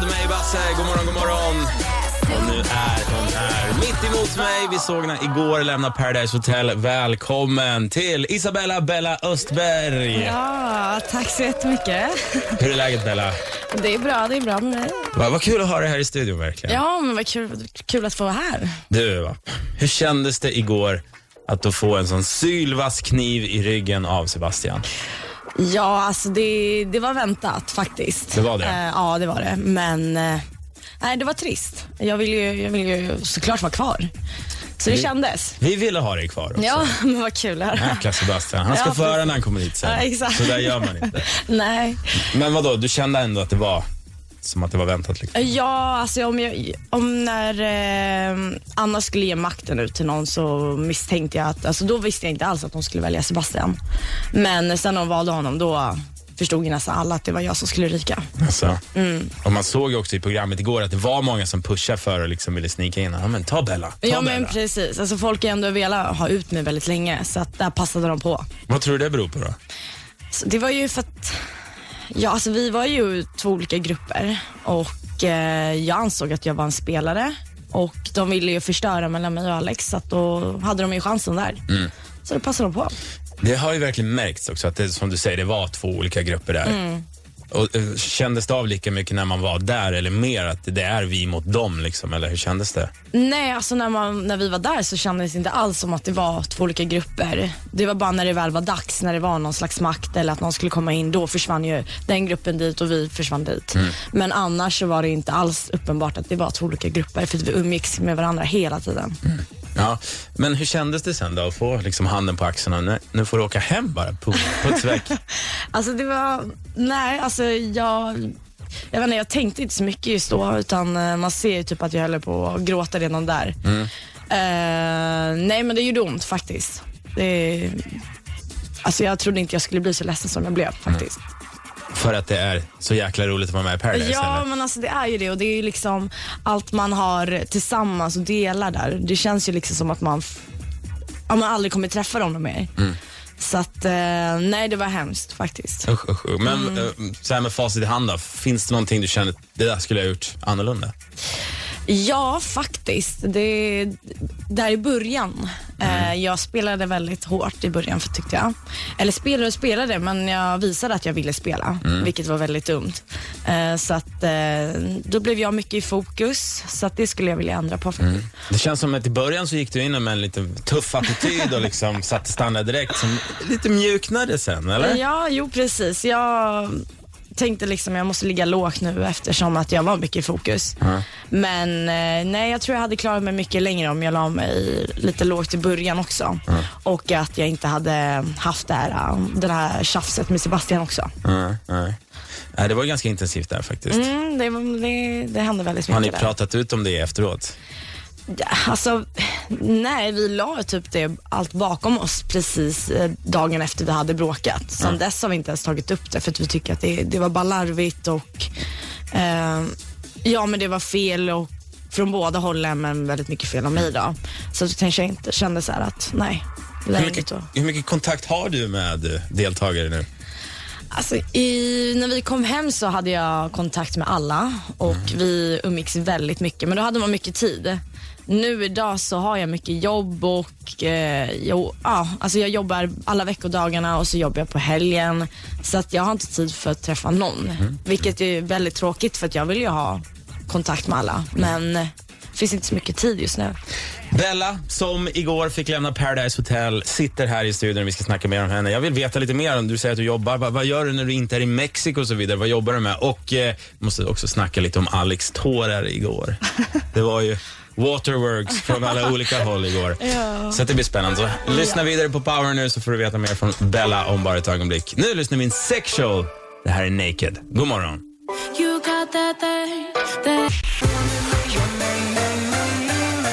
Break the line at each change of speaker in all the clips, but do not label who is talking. sig. God morgon, god morgon. Och nu är hon här mitt emot mig. Vi såg henne igår lämna Paradise Hotel. Välkommen till Isabella Bella Östberg.
Ja, tack så jättemycket. Mm.
Hur är läget Bella?
Det är bra, det är bra med mig.
Va, vad kul att ha dig här i studion verkligen.
Ja, men vad kul, kul att få vara här.
Du, va? hur kändes det igår att då få en sån sylvass kniv i ryggen av Sebastian?
Ja, alltså det, det var väntat faktiskt.
Det var det?
Eh, ja, det var det. Men eh, nej, det var trist. Jag vill, ju, jag vill ju såklart vara kvar. Så det
Vi-
kändes.
Vi ville ha dig kvar också.
Ja, men vad kul det här.
Jäkla Sebastian. Han ska
Ja,
få höra när han kommer hit sen.
Ja, exakt.
Så där gör man inte.
Nej.
Men vad då? du kände ändå att det var som att det var väntat? Liksom.
Ja, alltså om, jag, om när eh, Anna skulle ge makten ut till någon så misstänkte jag att, alltså då visste jag inte alls att hon skulle välja Sebastian. Men sen när hon valde honom då förstod ju nästan alla att det var jag som skulle ryka.
Alltså. Och man såg ju också i programmet igår att det var många som pushade för och liksom ville snika in. Ja, men ta Bella. Ta
Ja men
Bella.
precis, alltså folk har ändå velat ha ut mig väldigt länge så att där passade de på.
Vad tror du det beror på då?
Så det var ju för att, ja alltså vi var ju två olika grupper och eh, jag ansåg att jag var en spelare och de ville ju förstöra mellan mig och Alex så att då hade de ju chansen där. Så det passade de på.
Det har ju verkligen märkts också att det, som du säger, det var två olika grupper där. Och, eh, kändes det av lika mycket när man var där eller mer att det är vi mot dem liksom, eller hur kändes det?
Nej, alltså när, man, när vi var där så kändes det inte alls som att det var två olika grupper. Det var bara när det väl var dags, när det var någon slags makt eller att någon skulle komma in, då försvann ju den gruppen dit och vi försvann dit. Men annars så var det inte alls uppenbart att det var två olika grupper för att vi umgicks med varandra hela tiden.
Ja, men hur kändes det sen då att få liksom handen på axeln? och, Nu, nu får du åka hem bara, puff, puts väck.
Alltså det var, nej alltså jag, jag vet inte, jag tänkte inte så mycket just då utan eh, man ser ju typ att jag höll på att gråta redan där. Eh, nej men det gjorde ont faktiskt. Det, alltså jag trodde inte jag skulle bli så ledsen som jag blev faktiskt.
För att det är så jäkla roligt att vara med i Paradise
Ja
eller?
men alltså det är ju det och det är ju liksom allt man har tillsammans och delar där. Det känns ju liksom som att man, f- ja, man aldrig kommer träffa dem mer. Så att eh, nej det var hemskt faktiskt.
Usch, usch, usch. Men
Mm.
eh, så här med facit i hand då, finns det någonting du känner att det där skulle jag ha gjort annorlunda?
Ja, faktiskt. Det, där i början. Eh, jag spelade väldigt hårt i början, för tyckte jag. Eller spelade och spelade, men jag visade att jag ville spela, vilket var väldigt dumt. Eh, så att, eh, då blev jag mycket i fokus, så att det skulle jag vilja ändra på. faktiskt.
Det känns som att i början så gick du in med en lite tuff attityd och liksom satte standard direkt som lite mjuknade sen, eller?
Ja, jo precis. Jag tänkte liksom jag måste ligga lågt nu eftersom att jag var mycket i fokus. Men eh, nej, jag tror jag hade klarat mig mycket längre om jag la mig lite lågt i början också. Och att jag inte hade haft det här, eh, det här tjafset med Sebastian också.
Nej, nej. Nej, det var ganska intensivt där faktiskt.
Mm, det, det, det hände väldigt mycket
Har ni
där.
pratat ut om det efteråt?
Ja, Alltså, nej, vi la typ det allt bakom oss precis eh, dagen efter vi hade bråkat. Sen dess har vi inte ens tagit upp det för att vi tycker att det, det var bara larvigt och eh, ja, men det var fel och från båda hållen, men väldigt mycket fel av mig då. Så att jag kanske inte kände så här att nej, det där
Hur
är inget
mycket,
att-
hur mycket kontakt har du med eh, deltagare nu?
Alltså, i, när vi kom hem så hade jag kontakt med alla och vi umgicks väldigt mycket, men då hade man mycket tid. Nu idag så har jag mycket jobb och eh, jo, ja, alltså jag jobbar alla veckodagarna och så jobbar jag på helgen. Så att jag har inte tid för att träffa någon, Mm. vilket är väldigt tråkigt för att jag vill ju ha kontakt med alla. Men det finns inte så mycket tid just nu.
Bella, som igår fick lämna Paradise Hotel, sitter här i studion och vi ska snacka mer om henne. Jag vill veta lite mer om, du säger att du jobbar, vad, vad gör du när du inte är i Mexiko och så vidare? Vad jobbar du med? Och eh, måste också snacka lite om Alex tårar igår. Det var ju waterworks från alla olika håll igår. Så att det blir spännande. Så lyssna vidare på Power nu så får du veta mer från Bella om bara ett ögonblick. Nu lyssnar vi in Sexual. Det här är Naked. God morgon.
You got that thing that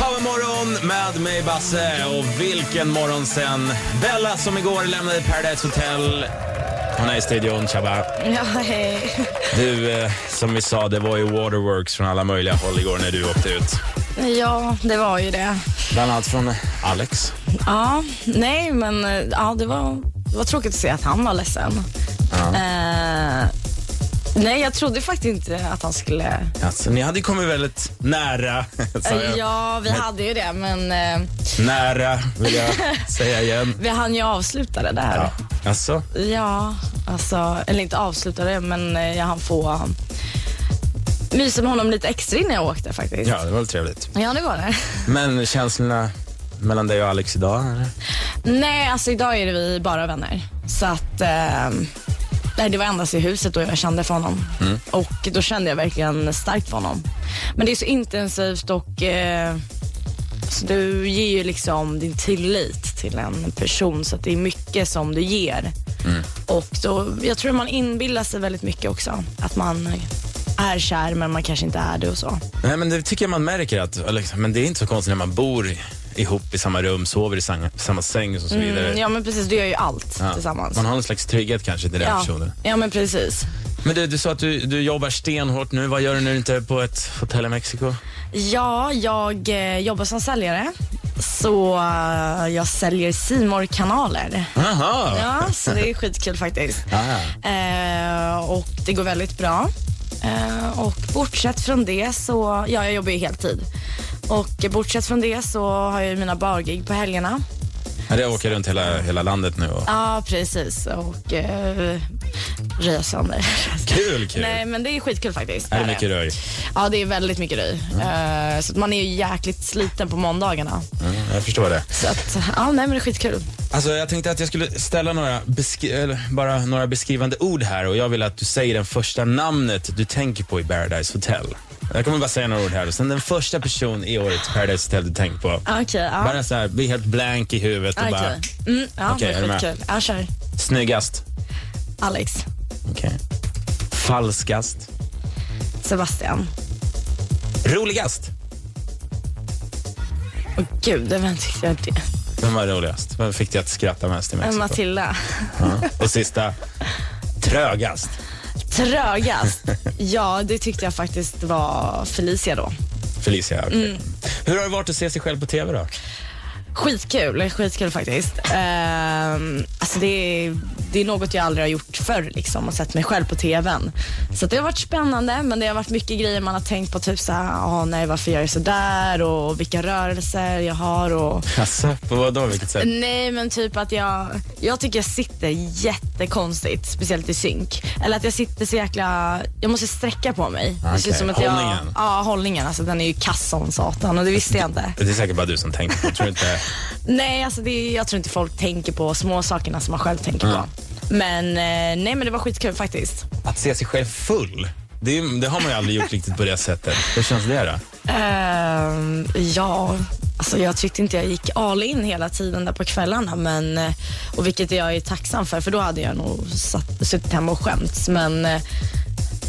Powermorgon med mig Basse och vilken morgon sen. Bella som igår lämnade Paradise Hotel. Hon är i studion, tjabba.
Ja, hej.
Du, eh, som vi sa, det var ju waterworks från alla möjliga håll igår när du åkte ut.
ja, det var ju det.
Bland annat från eh, Alex.
Ja, nej men eh, ja, det, var, det var tråkigt att se att han var ledsen. Eh, Nej, jag trodde faktiskt inte att han skulle...
Alltså, ni hade ju kommit väldigt nära, sa jag.
Ja, vi hade ju det, men eh,
Nära, vill jag säga igen.
vi hann ju avsluta det där.
Ja. Alltså,
Ja, alltså, eller inte avsluta det, men eh, jag hann få mysa med honom lite extra innan jag åkte faktiskt.
ja, det var väl trevligt.
ja det var det.
Men känslorna mellan dig och Alex idag? eller?
Nej, alltså idag är vi bara vänner. Så att, ehm, nej, det var endast i huset då jag kände för honom.
Mm.
Och då kände jag verkligen starkt för honom. Men det är så intensivt och eh, så du ger ju liksom din tillit till en person så att det är mycket som du ger.
Mm.
Och då, jag tror man inbillar sig väldigt mycket också. Att man är kär men man kanske inte är det och så.
Nej, men det tycker jag man märker att, Alex, men det är inte så konstigt när man bor ihop i samma rum, sover i sang- samma säng och så vidare.
Mm, ja men precis, du gör ju allt
Ja.
tillsammans.
Man har en slags trygghet kanske till den
ja.
personen.
ja men precis.
Men du, du sa att du, du jobbar stenhårt nu. Vad gör du nu inte är på ett hotell i Mexiko?
Ja, jag eh, jobbar som säljare. Så eh, jag säljer simor kanaler
Aha.
Ja, så det är skitkul faktiskt.
Ah.
Eh, och det går väldigt bra. Eh, och bortsett från det så, ja jag jobbar ju heltid. Och eh, bortsett från det så har jag ju mina bargig på helgerna.
Ja. Jag åker runt hela, hela landet nu. Och...
Ja, precis. Och eh, röja sönder.
Kul, kul.
Nej, men det är skitkul faktiskt.
Är det
Det är
mycket Mm. röj?
Ja, det är väldigt mycket röj. Eh, så att man är ju jäkligt sliten på måndagarna.
Mm, jag förstår det.
Så att, ja, nej men det är skitkul.
Alltså, jag tänkte att jag skulle ställa några, beskri- eller bara några beskrivande ord här och jag vill att du säger det första namnet du tänker på i Paradise Hotel. Jag kommer bara säga några ord här och sen den första person i årets Paradise Hotel du tänker på.
Okej, ja.
Bara så här, bli helt blank i huvudet och
Okej.
bara
Mm, ja,
Okej, är du
men
med?
skitkul. Ja, kör.
snyggast.
Alex,
Okej. Falskast.
Sebastian.
Roligast.
Åh gud, vem tyckte jag det?
Vem var roligast? Vem fick dig att skratta mest i
Men
Mexiko?
Matilda.
Ja. Och sista, trögast.
Trögast? Ja, det tyckte jag faktiskt var Felicia då.
Felicia, okej.
Mm.
Hur har det varit att se sig själv på TV då?
Skitkul, skitkul faktiskt. Ehm, alltså det, är, det är något jag aldrig har gjort förr liksom och sett mig själv på TVn. Så att det har varit spännande men det har varit mycket grejer man har tänkt på typ såhär, ah, nej varför gör jag sådär och vilka rörelser jag har och
Jaså, på vad då? Vilket sätt?
Nej men typ att jag, jag tycker jag sitter jättekonstigt, speciellt i synk. Eller att jag sitter så jäkla, jag måste sträcka på mig. Det
Okej,
känns som att
hållningen.
Jag, ja hållningen, alltså den är ju kass som satan och det visste jag inte.
Det är säkert bara du som tänker på det, tror du inte.
Nej, alltså det, är- jag tror inte folk tänker på små sakerna som man själv tänker
Mm.
på. Men eh, nej men det var skitkul faktiskt.
Att se sig själv full, det, är- det har man ju aldrig gjort riktigt på det sättet. Hur känns det då?
Ehm, ja, alltså jag tyckte inte jag gick all in hela tiden där på kvällarna. Men, eh, och vilket jag är tacksam för, för då hade jag nog satt, suttit hemma och skämts. Men eh,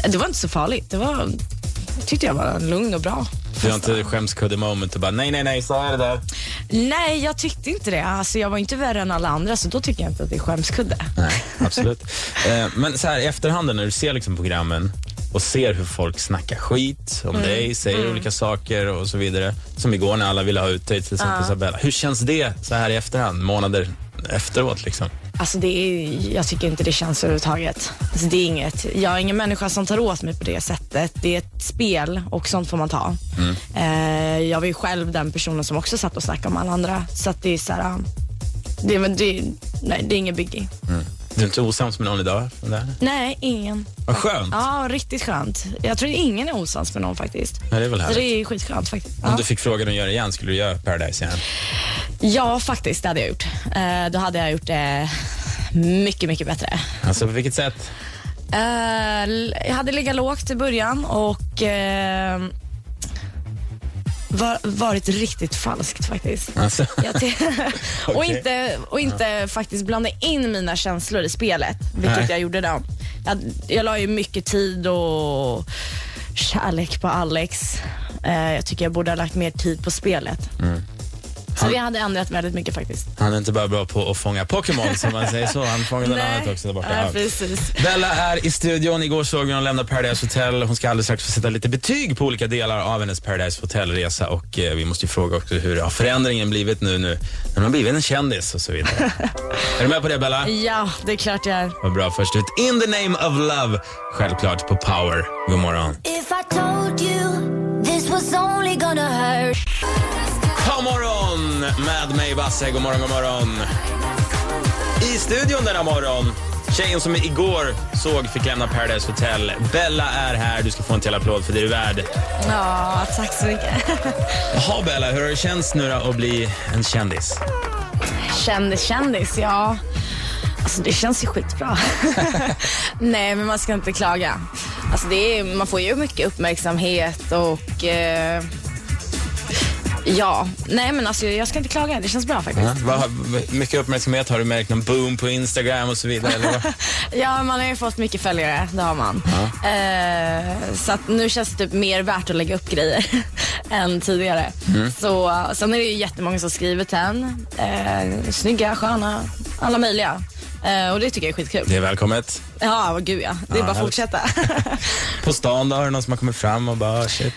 det var inte så farligt. Det var, tyckte jag var en lugn och bra.
Du har inte skämskudde moment och bara nej, nej, nej, sa jag det där?
Nej, jag tyckte inte det. Alltså, jag var inte värre än alla andra, så då tycker jag inte att det är skämskudde.
Nej, absolut. Eh, Men så här i efterhand när du ser liksom programmen och ser hur folk snackar skit om dig, säger olika saker och så vidare. Som igår när alla ville ha ut dig, till exempel Isabella. Hur känns det så här i efterhand, månader efteråt liksom?
Alltså det är, jag tycker inte det känns överhuvudtaget. Alltså det är inget, jag är ingen människa som tar åt mig på det sättet. Det är ett spel och sånt får man ta. Eh, jag var ju själv den personen som också satt och snackade om alla andra. Så att det är så här, det, men det, nej, det är ingen biggie.
Du är inte osams med någon idag? från det här?
Nej, ingen.
Vad skönt.
Ja, riktigt skönt. Jag tror ingen är osams med någon faktiskt.
Ja, det är väl
Så det
härligt.
är skitskönt faktiskt.
Om
Ja.
du fick frågan att göra igen, skulle du göra Paradise igen?
ja, faktiskt. Det hade jag gjort. Eh, då hade jag gjort det mycket, mycket bättre.
Alltså på vilket sätt?
Eh, l- jag hade legat lågt i början och eh, var, varit riktigt falskt faktiskt.
Alltså,
Jag ty- och
Okej.
inte, och inte faktiskt blanda in mina känslor i spelet, vilket
Nej.
jag gjorde då. Jag, jag la ju mycket tid och
Mm.
kärlek på Alex. Eh, jag tycker jag borde ha lagt mer tid på spelet. Så vi hade ändrat väldigt mycket faktiskt.
Han är inte bara bra på att fånga Pokémon som man säger så. Han fångade något annat också där borta.
Ja,
Ja.
precis.
Bella är i studion. Igår såg vi hon lämna Paradise Hotel. Hon ska alldeles strax få sätta lite betyg på olika delar av hennes Paradise Hotel-resa. Och eh, vi måste ju fråga också hur har förändringen blivit nu, nu när hon har blivit en kändis och så vidare. är du med på det Bella?
Ja, det är klart jag är.
Vad bra. Först ut In the name of love, självklart på Power. God morgon.
If I told you this was only gonna hurt.
God morgon med mig Basse. God morgon, god morgon. I studion denna morgon, tjejen som igår såg fick lämna Paradise Hotel. Bella är här. Du ska få en till applåd för det du är värd.
Ja, tack så mycket.
Jaha Bella, hur har det känts nu då att bli en kändis?
Kändis, kändis, ja. Alltså det känns ju skitbra. Nej, men man ska inte klaga. Alltså det är, man får ju mycket uppmärksamhet och eh, ja. Nej men alltså jag ska inte klaga, det känns bra faktiskt.
Vad har- v- mycket uppmärksamhet, har du märkt någon boom på Instagram och så vidare? Eller vad?
Ja, man har ju fått mycket följare, det har man. Eh, så att nu känns det typ mer värt att lägga upp grejer än tidigare.
Mm.
Så, sen är det ju jättemånga som skriver till en. Eh, snygga, sköna, alla möjliga. Eh, och det tycker jag är skitkul.
det är välkommet.
Ja, vad gud ja. Det är
Ja,
bara att
härligt.
fortsätta.
På stan då, har du någon som har kommit fram och bara shit?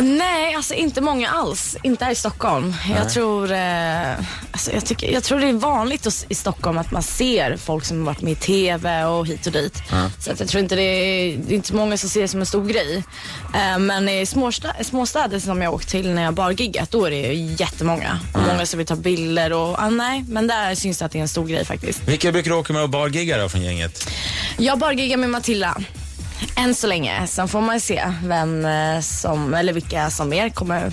Nej, alltså inte många alls. Inte här i Stockholm. Jag tror, eh, alltså, jag, tycker, jag tror det är vanligt hos- i Stockholm att man ser folk som har varit med i TV och hit och dit. Så att jag tror inte det är, det är inte många som ser det som en stor grej. Eh, men i småsta, småstäder som jag åkt till när jag bargiggat, då är det ju jättemånga. Och Många som vill ta bilder och, ah, nej, men där syns det att det är en stor grej faktiskt.
Vilka brukar du åka med och bargigga då från gänget?
Jag bargiggar med Matilda. Än så länge. Sen får man se vem eh, som, eller vilka som mer kommer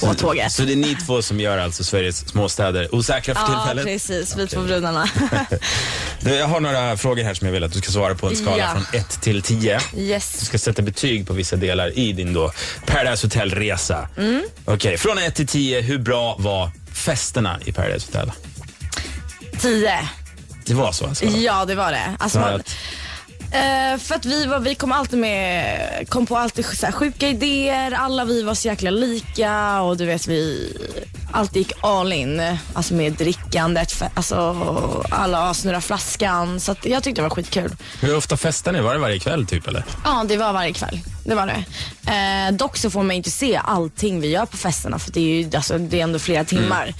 på tåget.
Så det är ni två som gör alltså Sveriges småstäder osäkra för
Ja,
tillfället?
precis. Vi två brudarna.
Du, jag har några frågor här som jag vill att du ska svara på en skala
Ja.
från 1 till 10. Du
yes.
ska sätta betyg på vissa delar i din då Paradise Hotel-resa. Okej, från 1 till 10, hur bra var festerna i Paradise Hotel?
Tio.
Det var så alltså?
Ja, det var det. Alltså,
För
man,
att-
eh, för att vi, var, vi kom alltid med, kom på alltid så här, sjuka idéer, alla vi var så jäkla lika och du vet vi alltid gick all in. Alltså med drickandet, fe- alltså alla snurra flaskan. Så att jag tyckte det var skitkul.
Hur ofta festar ni? Var det varje kväll typ eller?
Ja, det var varje kväll. Det var det. Eh, dock så får man inte se allting vi gör på festerna för det är ju alltså, det är ändå flera timmar.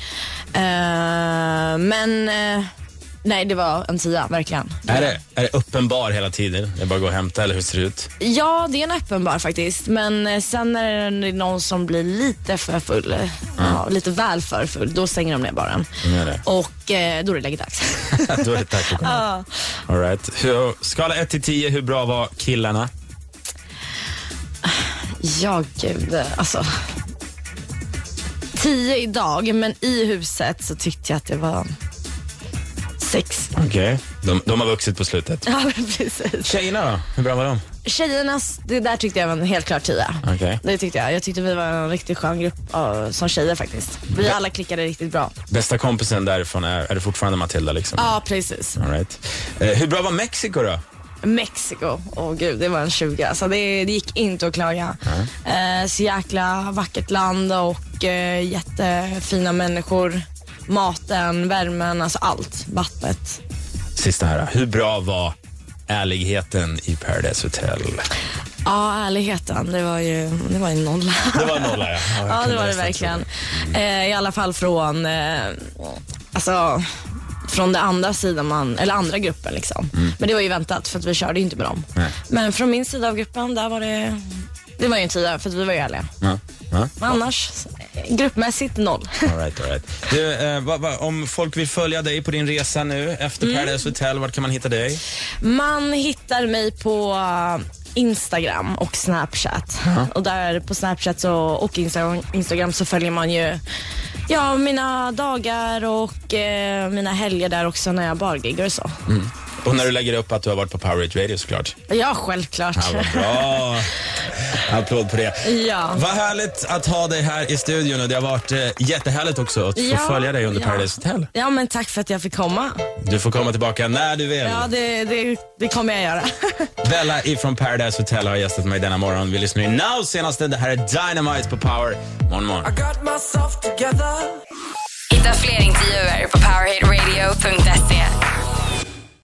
Eh, men eh, nej, det var en tia, verkligen.
Är det, är det uppenbar hela tiden? Det är bara att gå och hämta eller hur ser det ut?
Ja, det är en öppen bar faktiskt. Men eh, sen när det är någon som blir lite för full, eh, ja, lite väl för full, då stänger de ner baren.
Mm, det är det.
Och eh, då är det läggdags.
Då är det tack och godnatt.
Ja.
All right. Hur- Skala 1 till 10, hur bra var killarna?
Ja, gud. Alltså. Tio idag, men i huset så tyckte jag att det var sex.
Okej. De, de har vuxit på slutet.
Ja, men precis.
Tjejerna då? Hur bra var de?
Tjejernas, det där tyckte jag var en helt klart tia.
Okej.
Det tyckte jag. Jag tyckte vi var en riktigt skön grupp ja, som tjejer faktiskt. Vi alla klickade riktigt bra.
Bästa kompisen därifrån, är, är det fortfarande Matilda liksom?
Ja, precis.
All right. eh, hur bra var Mexiko då?
Mexiko, åh gud det var en 20. Så det, det gick inte att klaga. Eh, så jäkla vackert land och eh, jättefina människor. Maten, värmen, alltså allt. Vattnet.
Sista här. Hur bra var ärligheten i Paradise Hotel?
Ja, ärligheten, det var ju, det var ju nolla.
Det var nolla, ja. Ja, jag
Ja, det
kunde
var det
nästan
verkligen. Eh, I alla fall från, eh, alltså, från den andra sidan, man, eller andra gruppen liksom. Men det var ju väntat för att vi körde ju inte med dem.
Mm. Nej.
Men från min sida av gruppen, där var det, det var ju en tia för att vi var ju ärliga.
Ja. Ja.
Men Annars, eh, gruppmässigt noll.
All right, all right. Du, eh, vad- vad- om folk vill följa dig på din resa nu efter
Mm.
Paradise Hotel, var kan man hitta dig?
Man hittar mig på eh, Instagram och Snapchat. Och där på Snapchat så, och Instagram, Instagram så följer man ju ja, mina dagar och eh, mina helger där också när jag bargiggar och så.
Och när du lägger upp att du har varit på Power Hit Radio såklart.
Ja, självklart.
Ja, vad bra! Applåd på det.
Ja.
Vad härligt att ha dig här i studion och det har varit eh, jättehärligt också att få
Ja,
följa dig under
ja.
Paradise Hotel.
Ja, men tack för att jag fick komma.
Du får komma tillbaka när du vill.
Ja, det, det, det kommer jag göra.
Bella ifrån Paradise Hotel har gästat mig denna morgon. Vi lyssnar in Now senaste. Det här är Dynamite på Power. Morgon, morgon.
I got myself together. Hitta fler intervjuer på powerhitradio.se.